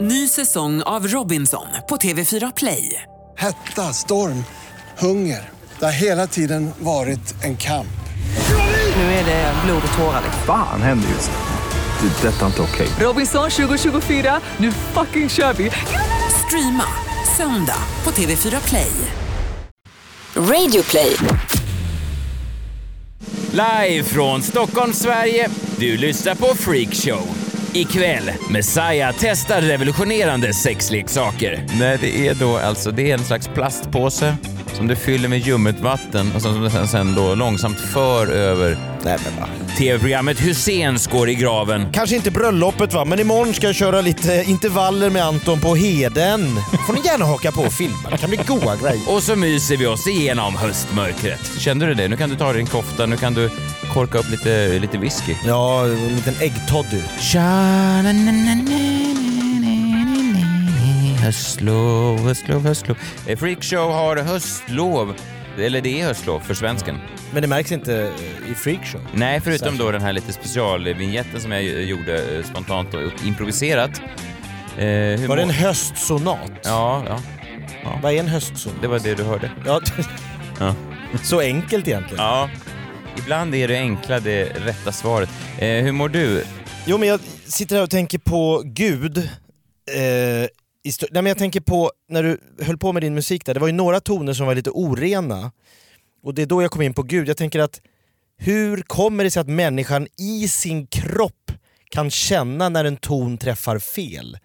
Ny säsong av Robinson på TV4 Play. Hetta, storm, hunger. Det har hela tiden varit en kamp. Nu är det blod och tårar. Fan händer just nu. Det. är Detta är inte okej. Robinson 2024, nu fucking kör vi! Streama söndag på TV4 Play. Radio play. Live från Stockholm, Sverige. Du lyssnar på Freak Show. Ikväll, Messiah testar revolutionerande sexleksaker. Nej, det är då alltså det är en slags plastpåse som du fyller med ljummet vatten och som du sen, sen då långsamt för över. Nej, men va. TV-programmet Husseins går i graven. Kanske inte bröllopet va, men imorgon ska jag köra lite intervaller med Anton på Heden. får ni gärna haka på och filma, det kan bli goa grejer. Och så myser vi oss igenom höstmörkret. Kände du det? Nu kan du ta din kofta, nu kan du korka upp lite, lite whisky. Ja, en liten äggtoddy. Höstlov, höstlov, höstlov. Eh, Freak Show har höstlov. Eller det är höstlov för svensken. Men det märks inte eh, i freakshow. Nej, förutom Särskilt. då den här lite specialvinjetten som jag eh, gjorde eh, spontant och improviserat. Eh, hur Var det må- en höstsonat? Ja, ja. Vad är en höstsonat? Det var det du hörde. Ja. Ja. Så enkelt egentligen. Ja. Ibland är det enkla det rätta svaret. Eh, hur mår du? Jo, men jag sitter här och tänker på Gud. Eh, i stö- Nej, men jag tänker på när du höll på med din musik där, det var ju några toner som var lite orena. Och det är då jag kom in på Gud. Jag tänker att hur kommer det sig att människan i sin kropp kan känna när en ton träffar fel?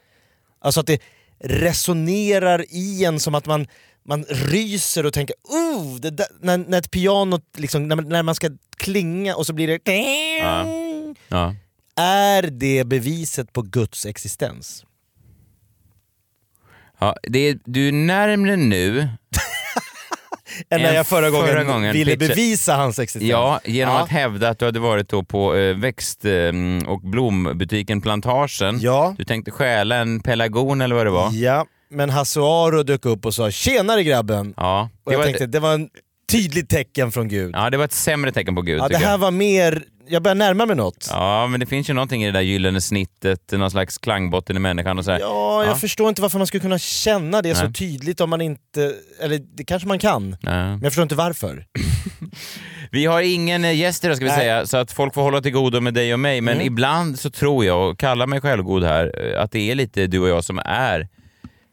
Alltså att det resonerar i en som att man, man ryser och tänker oh, det där, när, när ett piano, liksom, när, man- när man ska klinga och så blir det... Ja. Är det beviset på Guds existens? Ja, det är, du är närmre nu, Än när Än jag förra gången, förra gången ville pitchade- bevisa hans existens. ja, genom Ja. att hävda att du hade varit då på eh, växt eh, och blombutiken Plantagen. Ja. Du tänkte stjäla en pelargon eller vad det var. ja, men Hasse Aro dök upp och sa “tjenare grabben” Ja, och det jag var, tänkte det var en tydligt tecken från Gud. Ja, ja, det var ett sämre tecken på Gud det tycker här jag. var mer, jag börjar närma mig något. Ja, Ja, men det finns ju någonting i det där gyllene snittet, någon slags klangbotten i människan och sådär. jag Ja. förstår inte varför man skulle kunna känna det så Nej. tydligt om man inte, eller det kanske man kan, men Ja. jag förstår inte varför. Vi har ingen eh, gäst idag ska vi Nej. säga, så att folk får hålla till godo med dig och mig. Men Mm. ibland så tror jag, och kalla mig självgod här, eh, att det är lite du och jag som är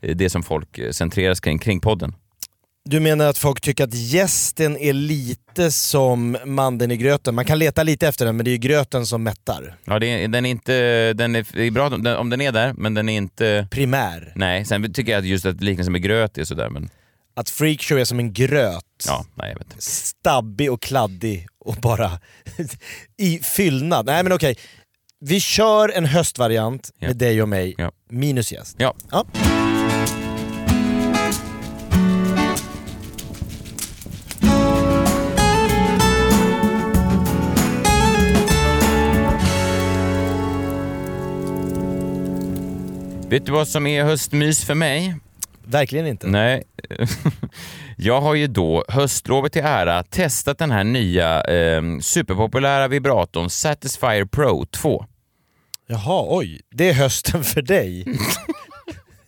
eh, det som folk eh, centreras kring, kring podden. Du menar att folk tycker att gästen är lite som mandeln i gröten? Man kan leta lite efter den men det är ju gröten som mättar. Ja, det är, den är inte... Den är, det är bra om den- om den är där, men den är inte... Primär. Nej, sen tycker jag att just att liknelsen med gröt är sådär, men Att freakshow är som en gröt. ja, nej jag vet inte. Stabbig och kladdig och bara i fyllnad. Nej men okej. Vi kör en höstvariant Ja. med dig och mig, Ja. minus gäst. Ja. Ja. Vet du vad som är höstmys för mig? Verkligen inte. Nej. Jag har ju då, höstlovet till ära, testat den här nya eh, superpopulära vibratorn Satisfyer Pro 2. Jaha, oj. Det är hösten för dig.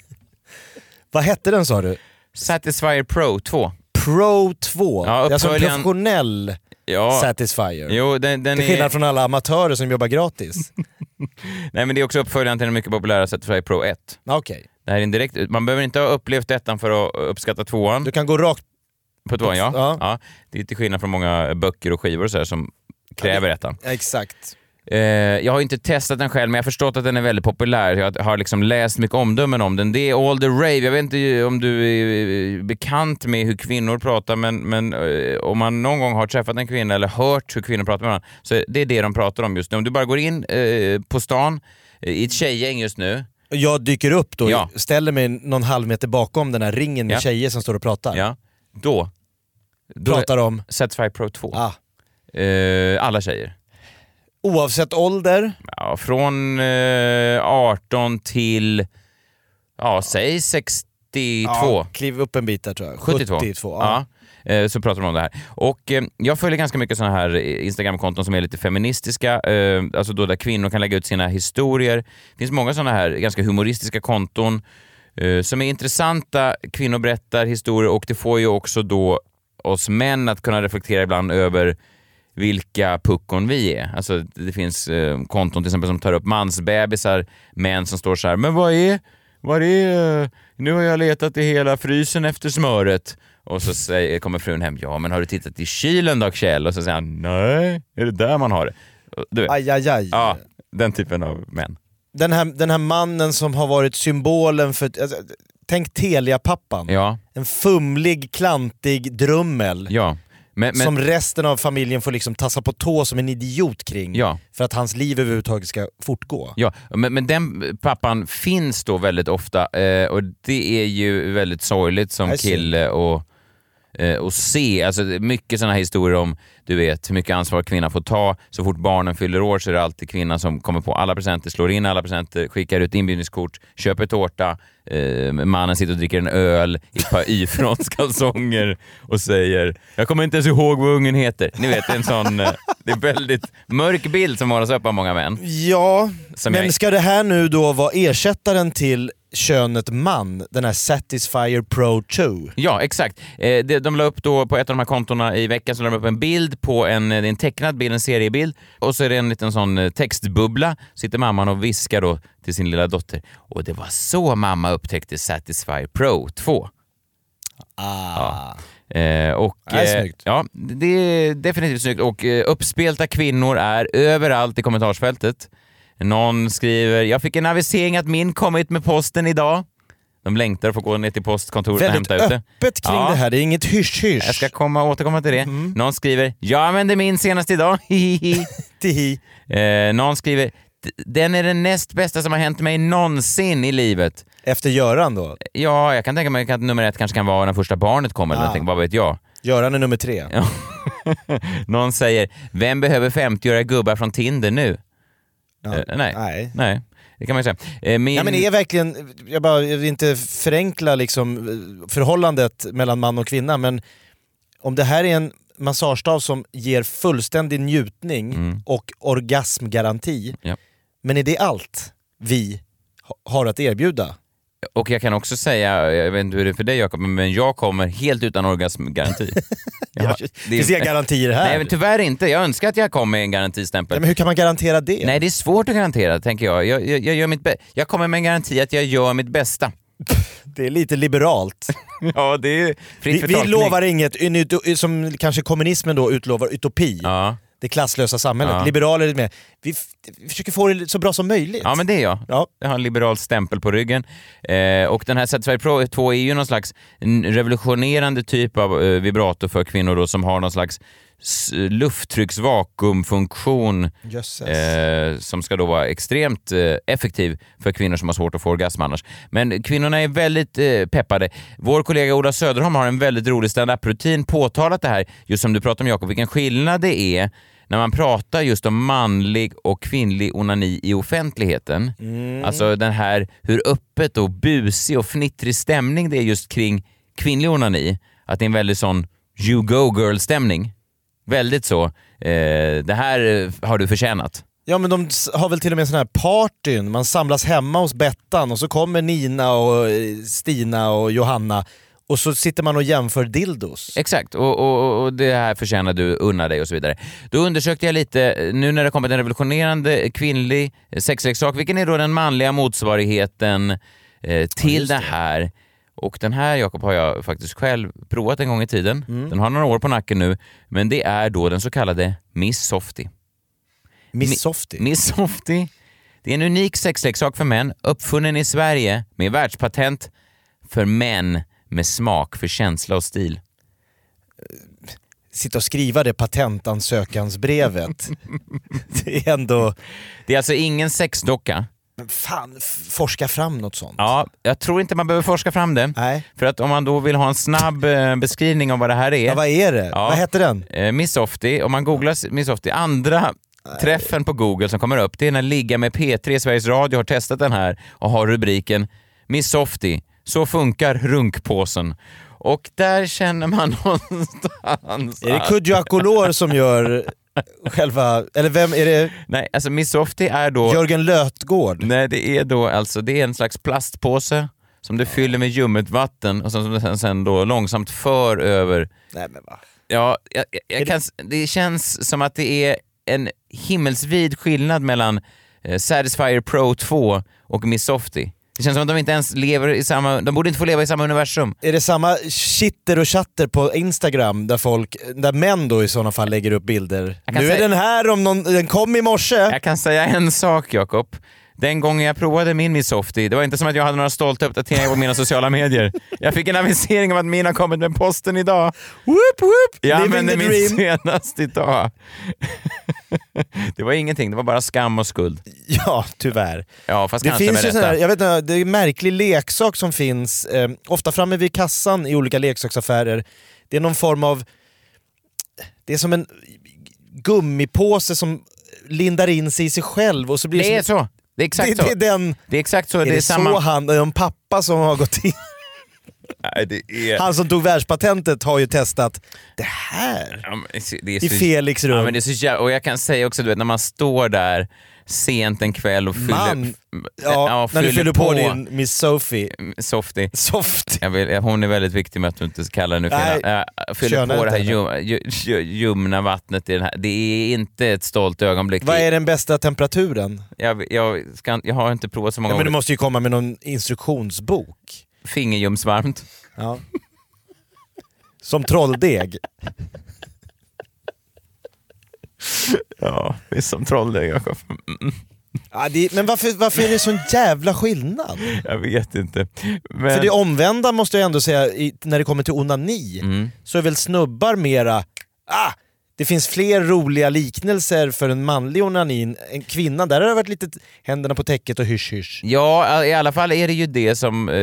Vad hette den sa du? Satisfyer Pro 2. Pro 2. Ja, det är alltså en uppföljaren- professionell Ja, Satisfyer. jo, den, den Till är, skillnad från alla amatörer som jobbar gratis. nej, men det är också uppföljaren till den mycket populära Satisfyer Pro 1. Okej, Det här är en direkt, man behöver inte ha upplevt ettan för att uppskatta tvåan. du kan gå rakt... På tvåan, ja. Ja. ja. Det är till skillnad från många böcker och skivor och så här, som kräver ettan. Exakt. Eh, jag har inte testat den själv, men jag har förstått att den är väldigt populär. Jag har liksom läst mycket omdömen om den. Det är all the rave. Jag vet inte om du är eh, bekant med hur kvinnor pratar, men, men eh, om man någon gång har träffat en kvinna eller hört hur kvinnor pratar med varandra, så det är det de pratar om just nu. Om du bara går in eh, på stan eh, i ett tjejgäng just nu, Jag dyker upp då, Ja. ställer mig någon halv meter bakom den här ringen med Ja. tjejer som står och pratar. ja, då... då Pratar om... Satisfy Pro 2. Ah. Eh, alla tjejer. Oavsett ålder, Ja, från eh, 18 till, ja, säg 60 72. Ja, kliv upp en bit där tror jag. 72. 72 ja. ja. Eh, Så pratar de om det här. Och eh, jag följer ganska mycket sådana här Instagramkonton som är lite feministiska, eh, alltså då där kvinnor kan lägga ut sina historier. Det finns många sådana här ganska humoristiska konton eh, som är intressanta. Kvinnor berättar historier och det får ju också då oss män att kunna reflektera ibland över vilka puckon vi är. Alltså det finns eh, konton till exempel som tar upp mansbebisar, män som står så här “men vad är, vad är, eh, nu har jag letat i hela frysen efter smöret” och så säger, kommer frun hem “ja men har du tittat i kylen då Kjell?” och så säger han “nej, är det där man har det?” Och du vet, Aj, aj, aj. ja, den typen av män. Den, här, den här mannen som har varit symbolen för... Alltså, tänk Telia-pappan. Ja, En fumlig, klantig drömmel. ja. Men, men, Som resten av familjen får liksom tassa på tå som en idiot kring. Ja. För att hans liv överhuvudtaget ska fortgå. Ja, men, men den pappan finns då väldigt ofta eh, och det är ju väldigt sorgligt som Jag ser. kille och, eh, och se. Alltså, det är mycket sådana här historier om du vet, hur mycket ansvar kvinnan får ta. Så fort barnen fyller år så är det alltid kvinnan som kommer på alla presenter, slår in alla presenter, skickar ut inbjudningskort, köper tårta. Eh, mannen sitter och dricker en öl i ett par Y-fronts kalsonger och säger “Jag kommer inte ens ihåg vad ungen heter”. Ni vet, det är en sån... Eh, det är en väldigt mörk bild som målas upp av många män. Ja, Som men jag- ska det här nu då vara ersättaren till könet man? Den här Satisfyer Pro 2? Ja, exakt. Eh, det- De la upp då på ett av de här kontona i veckan så la de upp en bild på en, eh, det är en tecknad bild, en seriebild och så är det en liten sån eh, textbubbla. Sitter mamman och viskar då till sin lilla dotter. Och det var så mamma upptäckte Satisfy Pro 2. Ah. Eh, och, Det är eh, snyggt. Ja, det är definitivt snyggt. Och eh, uppspelta kvinnor är överallt i kommentarsfältet. Någon skriver “Jag fick en avisering att min kommit med posten idag”. De längtar för att gå ner till postkontoret Väldigt och hämta ut det. öppet kring Ja. det här, det är inget Jag hysch-hysch. ska komma och återkomma till det. Mm. Någon skriver “Jag använde min senast idag”. Hihihi. Tihi. eh, någon skriver "D- “Den är den näst bästa som har hänt mig någonsin i livet”. Efter Göran då. Ja, jag kan tänka mig att nummer ett kanske kan vara när första barnet kommer eller Ah. någonting, vad vet jag. Göran är nummer tre. Ja. någon säger “Vem behöver 50-åriga gubbar från Tinder nu?” Ja. eh, nej. Nej. Nej, det kan man ju säga. Eh, min... Ja, men det är verkligen, jag, bara, jag vill inte förenkla liksom, eh, förhållandet mellan man och kvinna, men om det här är en massagestav som ger fullständig njutning och orgasmgaranti, Mm. Ja. men är det allt vi ha- har att erbjuda? Och jag kan också säga, jag vet inte hur det är för dig Jakob, men jag kommer helt utan orgasmgaranti. Jag har- Jag, det är- finns inga garantier här. Nej, men typ- tyvärr inte. Jag önskar att jag kom med en garantistämpel. Nej, men hur kan man garantera det? Nej, det är svårt att garantera, tänker jag. Jag, jag, jag, gör mitt bä- jag kommer med en garanti att jag gör mitt bästa. Det är lite liberalt. Ja, det är fritt Vi, för vi tolkning. lovar inget, en uto- som kanske kommunismen då utlovar, utopi. Ja. Det klasslösa samhället. Ja. Liberaler är med. Vi, f- vi försöker få det så bra som möjligt. ja, men det är jag. Ja. Jag har en liberal stämpel på ryggen. Eh, och den här Satisfyer Pro 2 är ju någon slags n- revolutionerande typ av eh, vibrator för kvinnor då, som har någon slags s- lufttrycksvakuumfunktion Jösses. eh, som ska då vara extremt eh, effektiv för kvinnor som har svårt att få orgasm annars. Men kvinnorna är väldigt eh, peppade. Vår kollega Ola Söderholm har en väldigt rolig standup-rutin påtalat det här, just som du pratade om Jakob, vilken skillnad det är när man pratar just om manlig och kvinnlig onani i offentligheten. Alltså den här hur öppet och busig och fnittrig stämning det är just kring kvinnlig onani. Att det är en väldigt sån you go girl-stämning. Väldigt så. Eh, det här eh, har du förtjänat. Ja men de s- har väl till och med sådana här partyn, man samlas hemma hos Bettan och så kommer Nina och eh, Stina och Johanna och så sitter man och jämför dildos. Exakt, och, och, och det här förtjänar du, unna dig och så vidare. Då undersökte jag lite, eh, nu när det kommit en revolutionerande kvinnlig eh, sexleksak, vilken är då den manliga motsvarigheten eh, till det. här? Och den här, Jakob, har jag faktiskt själv provat en gång i tiden. Den har några år på nacken nu, men det är då den så kallade Miss Softie. Miss Softie. Miss Softie. Det är en unik sexleksak för män, uppfunnen i Sverige med världspatent för män med smak för känsla och stil. Sitta och skriva det patentansökansbrevet. det är ändå... Det är alltså ingen sexdocka. Men fan, f- forska fram något sånt. Ja, jag tror inte man behöver forska fram det. Nej. För att om man då vill ha en snabb eh, beskrivning av vad det här Ja, är. vad är det? Ja. Vad heter den? Eh, Miss Softie, om man googlar Miss Softie, andra träffen på Google som kommer upp, det är när Ligga med P3 Sveriges Radio har testat den här och har rubriken Miss Softie Så funkar runkpåsen. Och där känner man någonstans... Är det att- Kodjo Akolor som gör själva... Eller vem är det? Nej, alltså Miss Softie är då... Jörgen Lötgård? Nej, det är då alltså, det är en slags plastpåse som du fyller med ljummet vatten och sen, som du sen, sen då långsamt för över. Nej men va. Ja, jag, jag- Är jag kan, s- det känns som att det är en himmelsvid skillnad mellan eh, Satisfyer Pro 2 och Miss Softie. Det känns som att de inte ens lever i samma, de borde inte få leva i samma universum. Är det samma chitter och chatter på Instagram där folk, där män då i sådana fall lägger upp bilder? Jag Nu är kan säga- den här om någon, den kom i morse. Jag kan säga en sak Jakob. Den gången jag provade min Miss Softie, det var inte som att jag hade några stolta uppdateringar på mina sociala medier. Jag fick en avisering om att min har kommit med posten idag. Whoop, whoop. Jag Living använde the min dream. senast idag. det var ingenting, det var bara skam och skuld. Ja, tyvärr. Ja, fast Det kanske finns med ju sån rätta. här, jag vet inte, det är en märklig leksak som finns, eh, ofta framme vid kassan i olika leksaksaffärer. Det är någon form av, det är som en gummipåse som lindar in sig i sig själv och så blir Det är som, så. Det är exakt så. det, det är den, Det är exakt så. är det, det är samma... så han, är det en pappa som har gått in? Nej, det är... Han som tog världspatentet har ju testat det här Ja, men det är i så- Felix rum. Ja, men det är så jävla... Och jag kan säga också, du vet när man står där sent en kväll och fyller... Man. Ja, Mm. ja, när du fyller på, din Miss Sophie. Softie. Soft. Jag vill, hon är väldigt viktig med att du inte kallar henne för Nej, henne. Jag fyller köna på det här inte ljum, lju- lju- ljumna vattnet i den här. Det är inte ett stolt ögonblick. Vad är den bästa temperaturen? jag, jag, ska, jag har inte provat så många Ja, men du gånger. måste ju komma med någon instruktionsbok. Fingerljumsvarmt. Ja. Som trolldeg. Ja, det är som trolldeg Jakob. Ja, det, men varför, varför är det sån jävla skillnad? Jag vet inte. Men, För det omvända måste jag ändå säga, i, när det kommer till onani, Mm. så är väl snubbar mera... Ah, det finns fler roliga liknelser för en manlig onanin än kvinnan. Där har det varit lite t- händerna på täcket och hysch hysch. Ja, i alla fall är det ju det som, eh,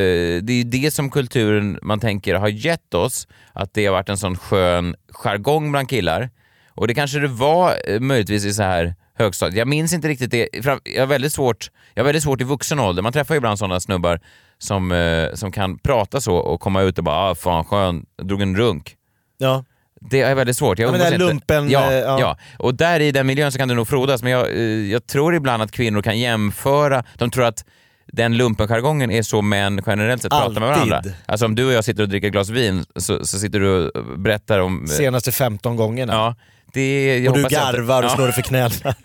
det är ju det som kulturen man tänker har gett oss. Att det har varit en sån skön jargong bland killar. Och det kanske det var eh, möjligtvis i så här högstadiet. Jag minns inte riktigt det. Fram- Jag har väldigt svårt, jag har väldigt svårt i vuxen ålder. Man träffar ju ibland sådana snubbar som, eh, som kan prata så och komma ut och bara ah, “fan skön, jag drog en runk”. Ja. Det är väldigt svårt. Jag Ja, men det här umgås inte. lumpen, ja, eh, ja. ja. Och där i den miljön så kan du nog frodas, men jag, eh, jag tror ibland att kvinnor kan jämföra. De tror att den lumpenjargongen är så män generellt sett pratar med Alltid. varandra. Alltså om du och jag sitter och dricker ett glas vin så, så sitter du och berättar om... eh, Senaste 15 gångerna. Ja, det, jag och du hoppas jag inte- garvar och ja, slår dig för knäna.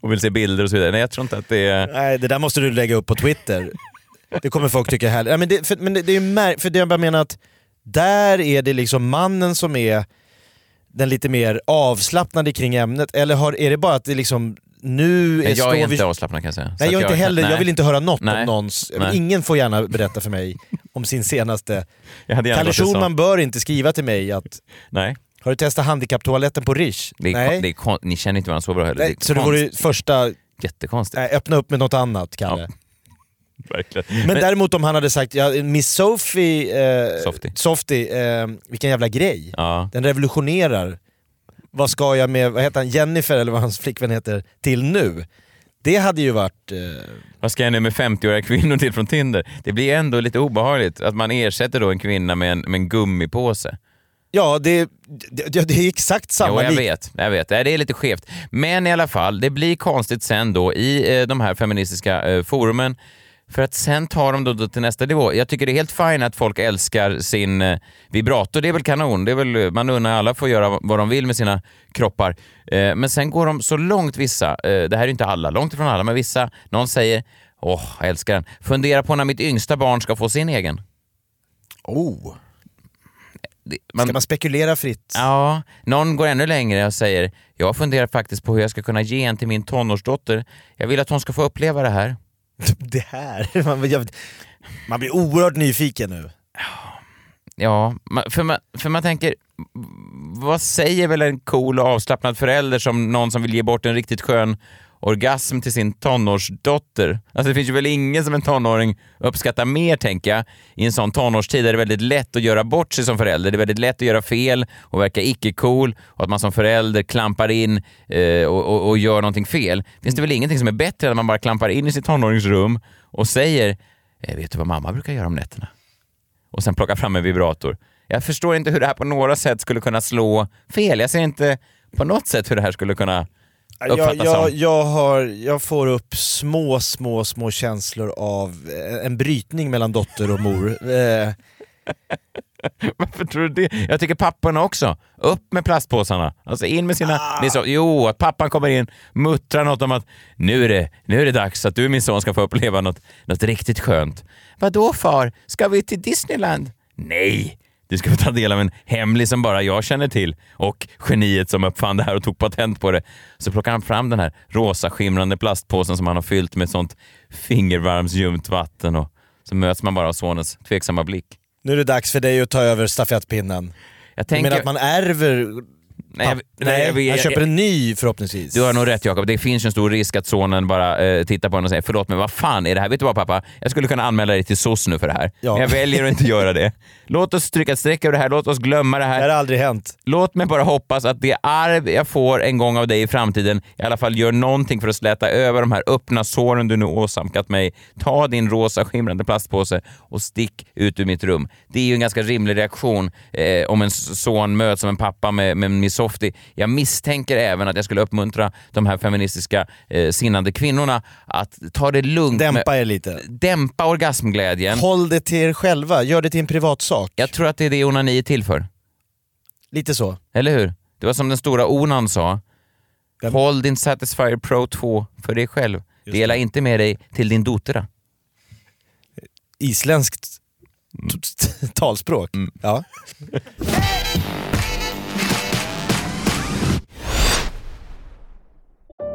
och vill se bilder och så vidare. Nej, jag tror inte att det är... Nej, det där måste du lägga upp på Twitter. Det kommer folk tycka är härligt. Nej, men det, för, men det, det är ju mär- för det jag bara menar att där är det liksom mannen som är den lite mer avslappnade kring ämnet. Eller har, är det bara att det liksom nu är, Nej, står jag är vi- inte avslappnad kan jag säga. Så Nej att jag är inte heller, nej. jag vill inte höra något Nej. om någons. Nej. Ingen får gärna berätta för mig om sin senaste. Jag hade gärna Kalle gått till sånt. Schulman bör inte skriva till mig att Nej, har du testat handikapptoaletten på Rish? det är, kon- Nej. det är kon- ni känner inte varandra så bra heller. Nej. det är Så det vore ju första, jättekonstigt. nej, öppna upp med något annat Kalle. Ja. Verkligen. Men däremot om han hade sagt ja, Miss Sophie, eh, Softie. Softie, eh, vilken jävla grej. ja. Den revolutionerar. Vad ska jag med, vad heter han, Jennifer eller vad hans flickvän heter, till nu? Det hade ju varit... Eh, Vad ska jag nu med 50-åriga kvinnor till från Tinder? Det blir ändå lite obehagligt att man ersätter då en kvinna med en, med en gummipåse. ja, det, det, det, det är exakt Jo, samma jag lik- vet, jag vet. Nej, Det är lite skevt. Men i alla fall, det blir konstigt sen då i eh, de här feministiska eh, forumen. För att sen tar de då- då till nästa nivå. Jag tycker det är helt fint att folk älskar sin eh, vibrator. Det är väl kanon. Det är väl, eh, man unnar alla får göra vad de vill med sina kroppar. Eh, men sen går de så långt vissa, eh, det här är ju inte alla, långt ifrån alla, men vissa. Någon säger Åh, jag älskar den. Fundera på när mitt yngsta barn ska få sin egen. Oh. Det- Ska man spekulera fritt? Ja, någon går ännu längre och säger jag funderar faktiskt på hur jag ska kunna ge en till min tonårsdotter. Jag vill att hon ska få uppleva det här. Det här, man, jag, man blir oerhört nyfiken nu. Ja, ma- för man, för man tänker, m- vad säger väl en cool och avslappnad förälder som någon som vill ge bort en riktigt skön orgasm till sin tonårsdotter? Alltså det finns ju väl ingen som en tonåring uppskattar mer, tänker jag. I en sån tonårstid är det väldigt lätt att göra bort sig som förälder. Det är väldigt lätt att göra fel och verka icke-cool och att man som förälder klampar in eh, och, och, och gör någonting fel. Finns det väl ingenting som är bättre än att man bara klampar in i sitt tonåringsrum och säger eh, vet du vad mamma brukar göra om nätterna? Och sen plocka fram en vibrator. Jag förstår inte hur det här på några sätt skulle kunna slå fel. Jag ser inte på något sätt hur det här skulle kunna uppfattas Jag, jag, som. jag, har, jag får upp små, små, små känslor av eh, en brytning mellan dotter och mor. Eh, Varför tror du det? Jag tycker papporna också. Upp med plastpåsarna. Alltså in med sina... Ah. Det är så, jo, att pappan kommer in, muttrar något om att nu är det, nu är det dags att du min son ska få uppleva något, något riktigt skönt. Vadå far? Ska vi till Disneyland? Nej! Du ska få ta del av en hemlig som bara jag känner till och geniet som uppfann det här och tog patent på det. Så plockar han fram den här rosa skimrande plastpåsen som han har fyllt med sånt fingervarmsljumt vatten och så möts man bara av sonens tveksamma blick. nu är det dags för dig att ta över stafettpinnen. Jag Du tänker... menar att man ärver... Nej, jag- papp- nej, jag- jag- han köper en ny förhoppningsvis. Du har nog rätt Jakob, det finns ju en stor risk att sonen bara eh, tittar på honom och säger “Förlåt men vad fan är det här? Vet du vad pappa? Jag skulle kunna anmäla dig till SOS nu för det här. Ja. Men jag väljer att inte göra det. Låt oss stryka ett streck över det här, låt oss glömma det Det här här. har aldrig hänt. Låt mig bara hoppas att det arv jag får en gång av dig i framtiden i alla fall gör någonting för att släta över de här öppna såren du nu åsamkat mig. Ta din rosa skimrande plastpåse och stick ut ur mitt rum. Det är ju en ganska rimlig reaktion eh, om en son möts av en pappa med, med en missofti. Jag misstänker även att jag skulle uppmuntra de här feministiska eh, sinnande kvinnorna att ta det lugnt. Dämpa med, er lite. dämpa orgasmglädjen. Håll det till er själva, gör det till en privatsak. Jag tror att det är det onani är till för. Lite så. Eller hur? Det var som den stora onan sa. Vem? Håll din Satisfyer Pro 2 för dig själv. Dela inte med dig till din dotera. Isländskt Mm. t- talspråk. Ja.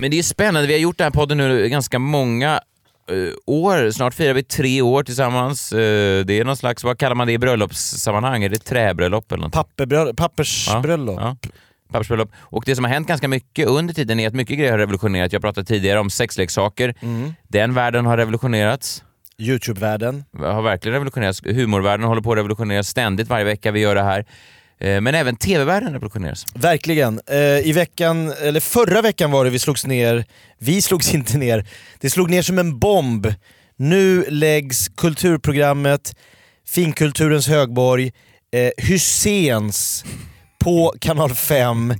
Men det är ju spännande, vi har gjort den här podden nu ganska många eh, år. Snart firar vi tre år tillsammans. Eh, det är någon slags, vad kallar man det i bröllopssammanhang? Är det träbröllop eller något? Papperbrö- pappersbröllop. Ja, ja. Pappersbröllop. Och det som har hänt ganska mycket under tiden är att mycket grejer har revolutionerat. Jag pratade tidigare om sexleksaker. Den världen har revolutionerats. Mm. Youtube-världen. har verkligen revolutionerats. Humorvärlden håller på att revolutioneras ständigt varje vecka vi gör det här. Eh, Men även tv-världen revolutioneras. Verkligen. Eh, I veckan, eller förra veckan var det vi slogs ner, vi slogs inte ner, det slog ner som en bomb. Nu läggs kulturprogrammet, finkulturens högborg, eh, Hyséns på kanal 5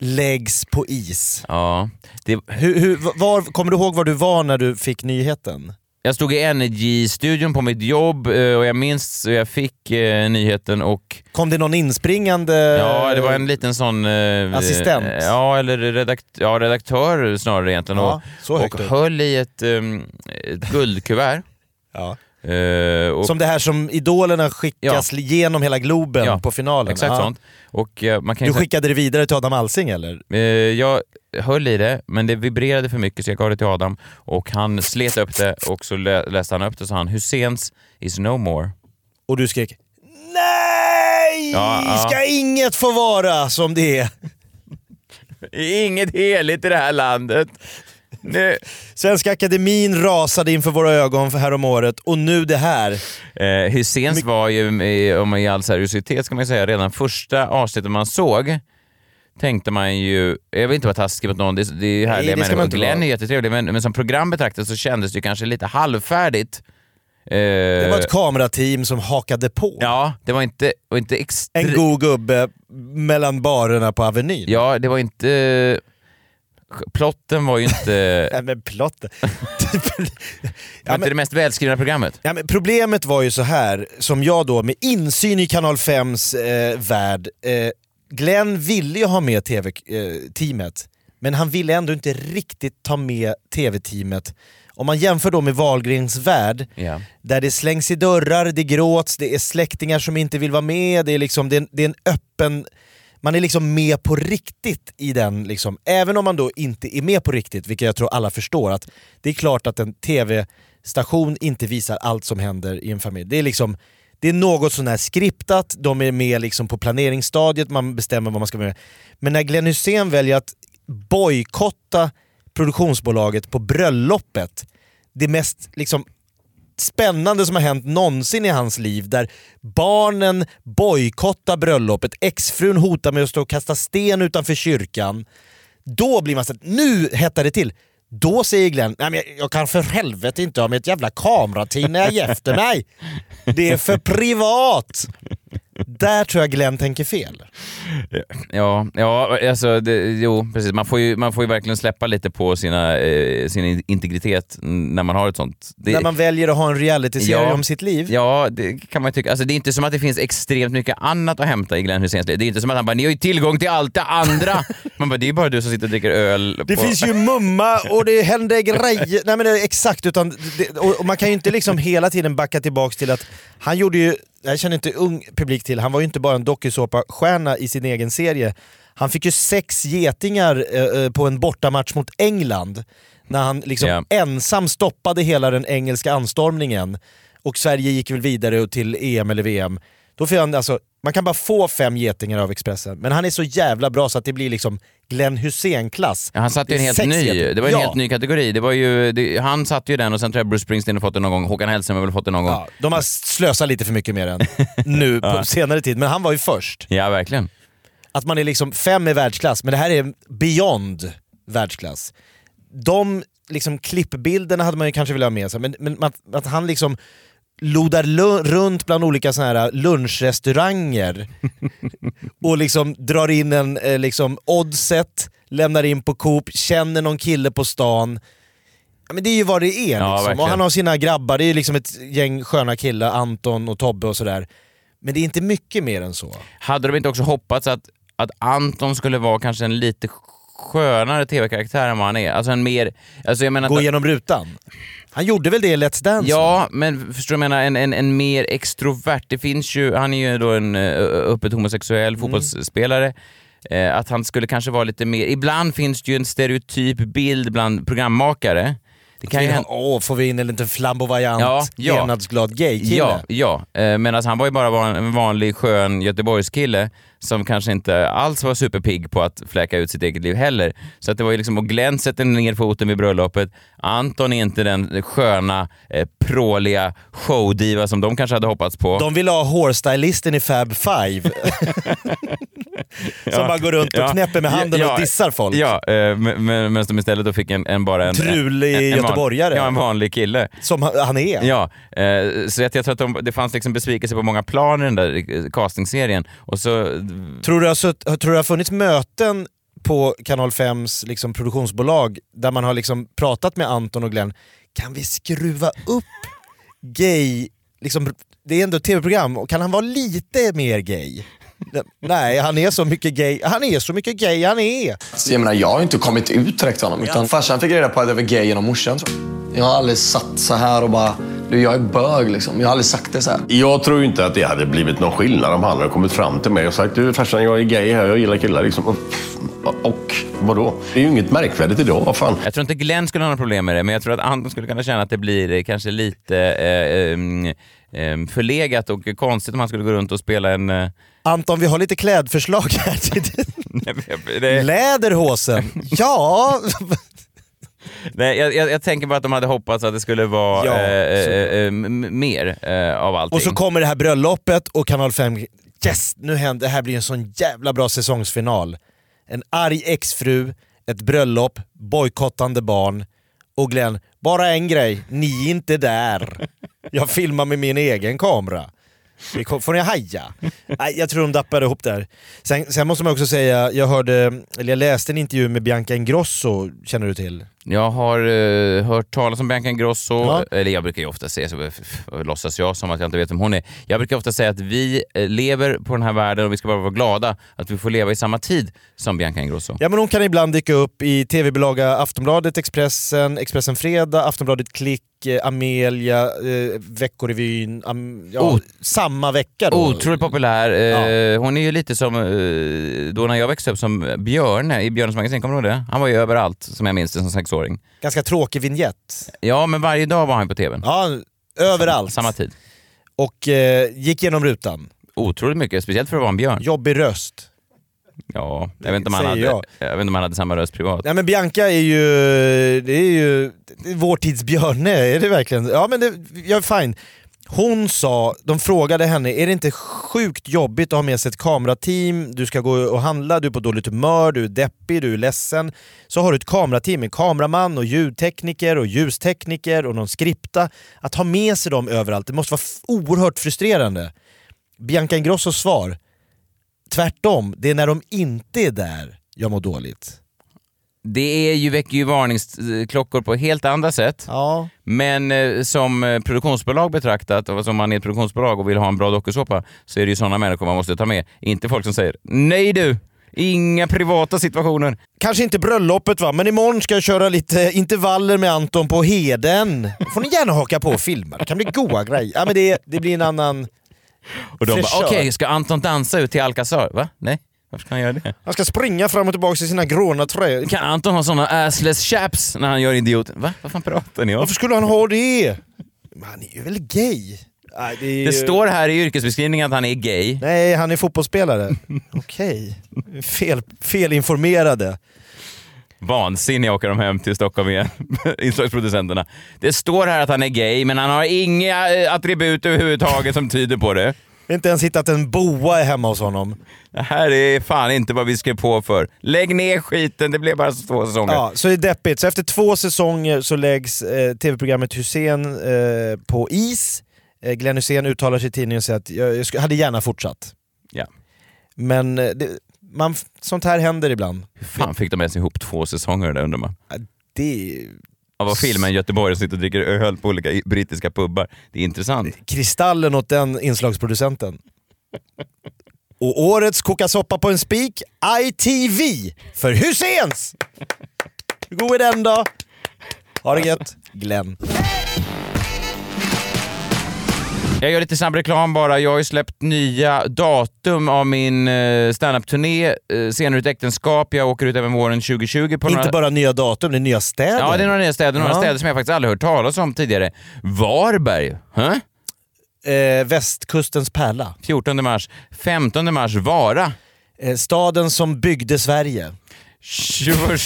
läggs på is. Ja. Det, Hur, hur, var, kommer du ihåg var du var när du fick nyheten? jag stod i Energy-studion på mitt jobb eh, och jag minns hur jag fick eh, nyheten och Kom det någon inspringande? ja, det var en liten sån... eh, Eh. Assistent. eh, Ja, eller redakt, ja, redaktör snarare egentligen. Ja, så och högt och upp. höll i ett, ehm, ett guldkuvert. Ja. Eh, och Som det här som idolerna skickas genom hela Globen Ja, på finalen. Exakt Ja. sånt. Och, eh, man kan ju Du säga- skickade det vidare till Adam Alsing eller? Eh, jag höll i det, men det vibrerade för mycket så jag gav det till Adam och han slet upp det och så lä- läste han upp det och sa han Husseins is no more. Och du skrek NEJ! Ja, ja. Ska inget få vara som det är? Inget heligt i det här landet. Nu. Svenska Akademin rasade inför våra ögon för här om året och nu det här. Eh, Husseins var ju, eh, om man i all seriositet ska man ju säga, redan första avsnittet man såg tänkte man ju, jag vill inte vara taskig mot någon, det, är- det är ju det härliga ska man människor, inte Glenn vara. är jättetrevlig, men, men som program betraktat så kändes det ju kanske lite halvfärdigt. Eh, Det var ett kamerateam som hakade på. Ja, det var inte, och inte extremt... En god gubbe mellan barerna på Avenyn. Ja, det var inte... Plotten var ju inte, Nej, men plotten. var inte det mest välskrivna programmet. Ja, men problemet var ju så här som jag då med insyn i kanal 5s eh, värld eh, Glenn ville ju ha med tv-teamet, men han ville ändå inte riktigt ta med tv-teamet. Om man jämför då med Wahlgrens värld, Ja. där det slängs i dörrar, det gråts, det är släktingar som inte vill vara med, det är, liksom, det är, en, det är en öppen... Man är liksom med på riktigt i den, liksom. även om man då inte är med på riktigt, vilket jag tror alla förstår. att Det är klart att en tv-station inte visar allt som händer i en familj. Det är liksom det är något sån här skriptat, de är med liksom på planeringsstadiet, man bestämmer vad man ska göra. Men när Glenn Hussein väljer att bojkotta produktionsbolaget på bröllopet, det mest liksom spännande som har hänt någonsin i hans liv där barnen bojkottar bröllopet, exfrun hotar med att stå och kasta sten utanför kyrkan. Då blir man så att nu hettar det till. Då säger Glenn, Nej, men jag, jag kan för helvete inte ha med ett jävla kamerateam när jag ger efter mig. Det är för privat. Där tror jag Glenn tänker fel. Ja, ja alltså, det, jo, precis. Man får, ju, man får ju verkligen släppa lite på sina, eh, sin in- integritet n- när man har ett sånt. Det, När man väljer att ha en realityserie om sitt liv. Ja, det kan man ju tycka. Alltså, det är inte som att det finns extremt mycket annat att hämta i Glenn Hyséns liv. Det är inte som att han bara “ni har ju tillgång till allt det andra”. man bara “det är ju bara du som sitter och dricker öl”. Det på... finns ju mumma och det händer grejer. Nej men det är exakt, utan det, och och man kan ju inte liksom hela tiden backa tillbaks till att han gjorde ju, jag känner inte ung publik till, han var ju inte bara en dokusåpa-stjärna i sin egen serie. Han fick ju sex getingar eh, eh, på en bortamatch mot England. När han liksom Ja. ensam stoppade hela den engelska anstormningen. Och Sverige gick väl vidare till EM eller VM. Då får han alltså, man kan bara få fem getingar av Expressen, men han är så jävla bra så att det blir liksom Glenn Hussein-klass. Ja, Han satt ju en Det är helt sex ny, jätte- det var ju en Ja. helt ny kategori. Det var ju, det, han satte ju den och sen tror jag Bruce Springsteen har fått den någon gång, Håkan Hellström har väl fått den någon gång. Ja, de har slösat lite för mycket med den nu på senare tid, men han var ju först. Ja, verkligen. Att man är liksom fem i världsklass, men det här är beyond världsklass. De liksom, klippbilderna hade man ju kanske velat ha med sig, men, men att, att han liksom lodar lu- runt bland olika såna här lunchrestauranger och liksom drar in en eh, liksom, oddset, lämnar in på Coop, känner någon kille på stan. Ja, men det är ju vad det är. Ja, Liksom. och verkligen. han har sina grabbar, det är ju liksom ett gäng sköna killar, Anton och Tobbe och sådär. Men det är inte mycket mer än så. Hade de inte också hoppats att, att Anton skulle vara kanske en lite skönare tv-karaktär än vad han är? Alltså en mer... Alltså jag menar Gå att, igenom rutan. Han gjorde väl det i Let's Dance? Ja, men förstår du vad jag menar? En, en, en mer extrovert. Det finns ju, han är ju då en eh, öppet homosexuell fotbollsspelare. Eh, Att han skulle kanske vara lite mer... Ibland finns det ju en stereotyp bild bland programmakare. Det kan ju Åh, hända... får vi in en liten flamboyant, Ja, ja. levnadsglad gay-kille? Ja, ja. Eh, medan han var ju bara van- en vanlig skön göteborgskille som kanske inte alls var superpigg på att fläka ut sitt eget liv heller. Så att det var ju liksom, och Glenn sätter ner foten vid bröllopet. Anton är inte den sköna, eh, pråliga showdiva som de kanske hade hoppats på. De vill ha hårstylisten i Fab Five. Som bara går runt och knäpper med handen och dissar folk. Ja, eh, men- men- medan de istället då fick en, en bara en... Trulig en- en van- göteborgare. Ja, en vanlig kille. Som han han är. Ja, eh, så jag, jag tror att de, det fanns liksom besvikelse på många plan i den där eh, castingserien. Och så Tror, du har sutt, tror du det har funnits möten på Kanal 5s liksom produktionsbolag där man har liksom pratat med Anton och Glenn? Kan vi skruva upp gay... Liksom, det är ändå ett tv-program, och kan han vara lite mer gay? Nej, han är så mycket gay. Han är så mycket gay han är. Så Alltså, Jag menar, jag har ju inte kommit ut direkt till honom. Utan farsan fick reda på att jag var gay genom morsan. tror jag. Jag har aldrig satt så här och bara, du jag är bög liksom. Jag har aldrig sagt det så här. Jag tror ju inte att det hade blivit någon skillnad om han hade kommit fram till mig och sagt du farsan, jag är gay här, jag gillar killar liksom. Och, och vadå? Det är ju inget märkvärdigt idag, vad fan. Jag tror inte Glenn skulle ha några problem med det, men jag tror att Anton skulle kunna känna att det blir eh, kanske lite eh, ehm, ehm, förlegat och konstigt om han skulle gå runt och spela en... Eh, Anton, vi har lite klädförslag här. till- nej, men det, Läderhosen. Ja, nej, jag, jag, jag tänker bara att de hade hoppats att det skulle vara Ja, eh, eh, så- eh, m- mer eh, av allting. Och så kommer det här bröllopet och Kanal 5, yes! Nu händer, det här blir en sån jävla bra säsongsfinal. En arg exfru, ett bröllop, bojkottande barn och Glenn, bara en grej, ni är inte där. Jag filmar med min egen kamera. Det kom- Får ni haja? Nej, jag tror de dappade ihop där. Sen, sen måste man också säga, jag hörde, eller jag läste en intervju med Bianca Ingrosso, känner du till? Jag har eh, hört talas om Bianca Ingrosso, Ja. eller jag brukar ju ofta säga, så eh, f- f- låtsas jag som att jag inte vet vem hon är. Jag brukar ofta säga att vi eh, lever på den här världen och vi ska bara vara glada att vi får leva i samma tid som Bianca Ingrosso. Ja men hon kan ibland dyka upp i tv-bilaga Aftonbladet, Expressen, Expressen Fredag, Aftonbladet Klick, eh, Amelia, eh, Veckorevyn. Am, ja, Ot- samma vecka då. Otroligt populär. Eh, Hon är ju lite som, eh, då när jag växte upp, som Björne i Björnes magasin. Kommer du ihåg det? Han var ju överallt, som jag minns det, som sexåring. Ganska tråkig vignett. Ja, men varje dag var han på tvn. Ja, överallt. Samma tid. Och eh, gick genom rutan. Otroligt mycket, speciellt för att vara en björn. Jobbig röst. Ja, jag vet inte om han, Säger hade, jag. jag. vet inte om han hade samma röst privat. Nej men Bianca är ju, det är ju det är vår tids Björne, är det verkligen? Ja men det, jag är fine. Hon sa, de frågade henne, är det inte sjukt jobbigt att ha med sig ett kamerateam, du ska gå och handla, du är på dåligt humör, du är deppig, du är ledsen. Så har du ett kamerateam, en kameraman och ljudtekniker och ljustekniker och någon skripta. Att ha med sig dem överallt, det måste vara f- oerhört frustrerande. Bianca Ingrossos svar, tvärtom, det är när de inte är där jag mår dåligt. Det är ju, väcker ju varningsklockor på helt andra sätt. Ja. Men eh, som eh, produktionsbolag betraktat, och som man är ett produktionsbolag och vill ha en bra dokusåpa, så är det ju sådana människor man måste ta med. Inte folk som säger “Nej du, inga privata situationer”. Kanske inte bröllopet va, men imorgon ska jag köra lite intervaller med Anton på Heden. får ni gärna haka på och filma, det kan bli goa grejer. Ja, men det, det blir en annan... Och de bara Fräschör. “Okej, ska Anton dansa ut till Alcazar?” Va? Nej, varför ska han göra det? Han ska springa fram och tillbaka i sina gråna tröjor. Kan Anton ha såna assless chaps när han gör idiot? Va? Vad fan pratar ni om? Varför skulle han ha det? Men Han är ju väl gay? Nej, det, är ju... Det står här i yrkesbeskrivningen att han är gay. Nej, han är fotbollsspelare. Okej. Fel, felinformerade. Vansinniga åker de hem till Stockholm igen, inslagsproducenterna. Det står här att han är gay, men han har inga eh, attribut överhuvudtaget som tyder på det. Jag har inte ens hittat en boa hemma hos honom. Det här är fan inte vad vi skrev på för. Lägg ner skiten, det blev bara två säsonger. Ja, så det är deppigt. Så efter två säsonger så läggs eh, tv-programmet Hussein eh, på is. Eh, Glenn Hussein uttalar sig i tidningen och säger att jag, jag sk- hade gärna fortsatt. Ja. Men eh, det, man, f- sånt här händer ibland. Hur fan fick de ens ihop två säsonger där undrar man? Det är Av att filma en göteborgare som sitter och dricker öl på olika i- brittiska pubbar. Det är intressant. kristallen åt den inslagsproducenten. Och årets koka soppa på en spik, ITV för Husseins! Hur god är den då? Ha det gött, Glenn. Jag gör lite snabb reklam bara. Jag har ju släppt nya datum av min eh, standup-turné, eh, Scener ur ett äktenskap. Jag åker ut även våren 2020 på några... Inte bara nya datum, det är nya städer. Ja, det är några nya städer. Några Ja. städer som jag faktiskt aldrig hört talas om tidigare. Varberg, huh? eh, västkustens pärla. 14 mars. 15 mars, Vara. Eh, staden som byggde Sverige. 21 mars...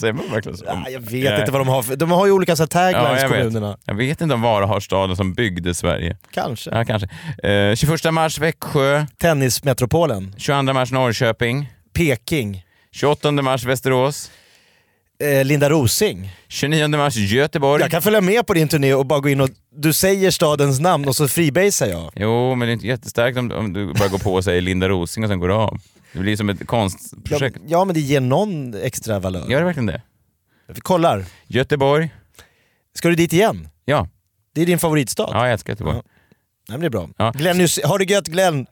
Säger man verkligen så? Ah, jag vet inte vad de har för... De har ju olika så här Mm. Eh. Ja, taglines, jag kommunerna. vet. jag vet inte om Vara har staden som byggde Sverige. Kanske. Ja, kanske. Eh, 21 mars, Växjö. Tennismetropolen. 22 mars, Norrköping. Peking. 28 mars, Västerås. Eh, Linda Rosing. 29 mars, Göteborg. Jag kan följa med på din turné och bara gå in och... Du säger stadens namn och så freebasar jag. Jo, men det är inte jättestarkt om, om du bara går på och säger Linda Rosing och sen går du av. Det blir som ett Ja, konstprojekt. ja, men det ger någon extra valör. Gör det verkligen det? Vi kollar. Göteborg. Ska du dit igen? Ja, Det är din favoritstad. ja jag älskar Göteborg. Nej, men det är bra. Ja. Glenn, Hus- har det gött Glenn!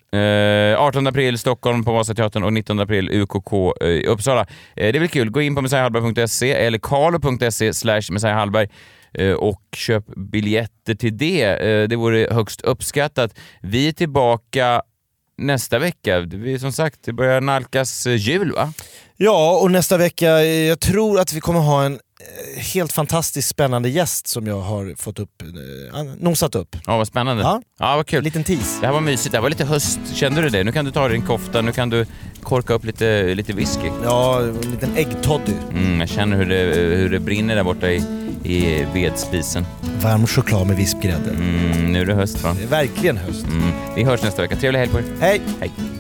Eh, 18 april Stockholm på Vasateatern och 19 april UKK eh, i Uppsala. Eh, det är väl kul. Gå in på messiahallberg.se eller carlo.se slash messiahallberg eh, och köp biljetter till det. Eh, det vore högst uppskattat. Vi är tillbaka nästa vecka. Vi, som sagt, det börjar nalkas eh, jul va? Ja, och nästa vecka, eh, jag tror att vi kommer ha en eh, helt fantastiskt spännande gäst som jag har fått upp, eh, an- nosat upp. Ja, vad spännande. Ja. ja vad kul. Liten tease. Det här var mysigt. Det här var lite höst. Kände du det? Nu kan du ta dig din kofta. Nu kan du korka upp lite, lite whisky. Ja, en liten äggtoddy. Mm, jag känner hur det, hur det brinner där borta i, i vedspisen. Varm choklad med vispgrädde. Mm, nu är det höst va? Det är verkligen höst. Mm. Vi hörs nästa vecka. Trevlig helg på er. Hej! Hej.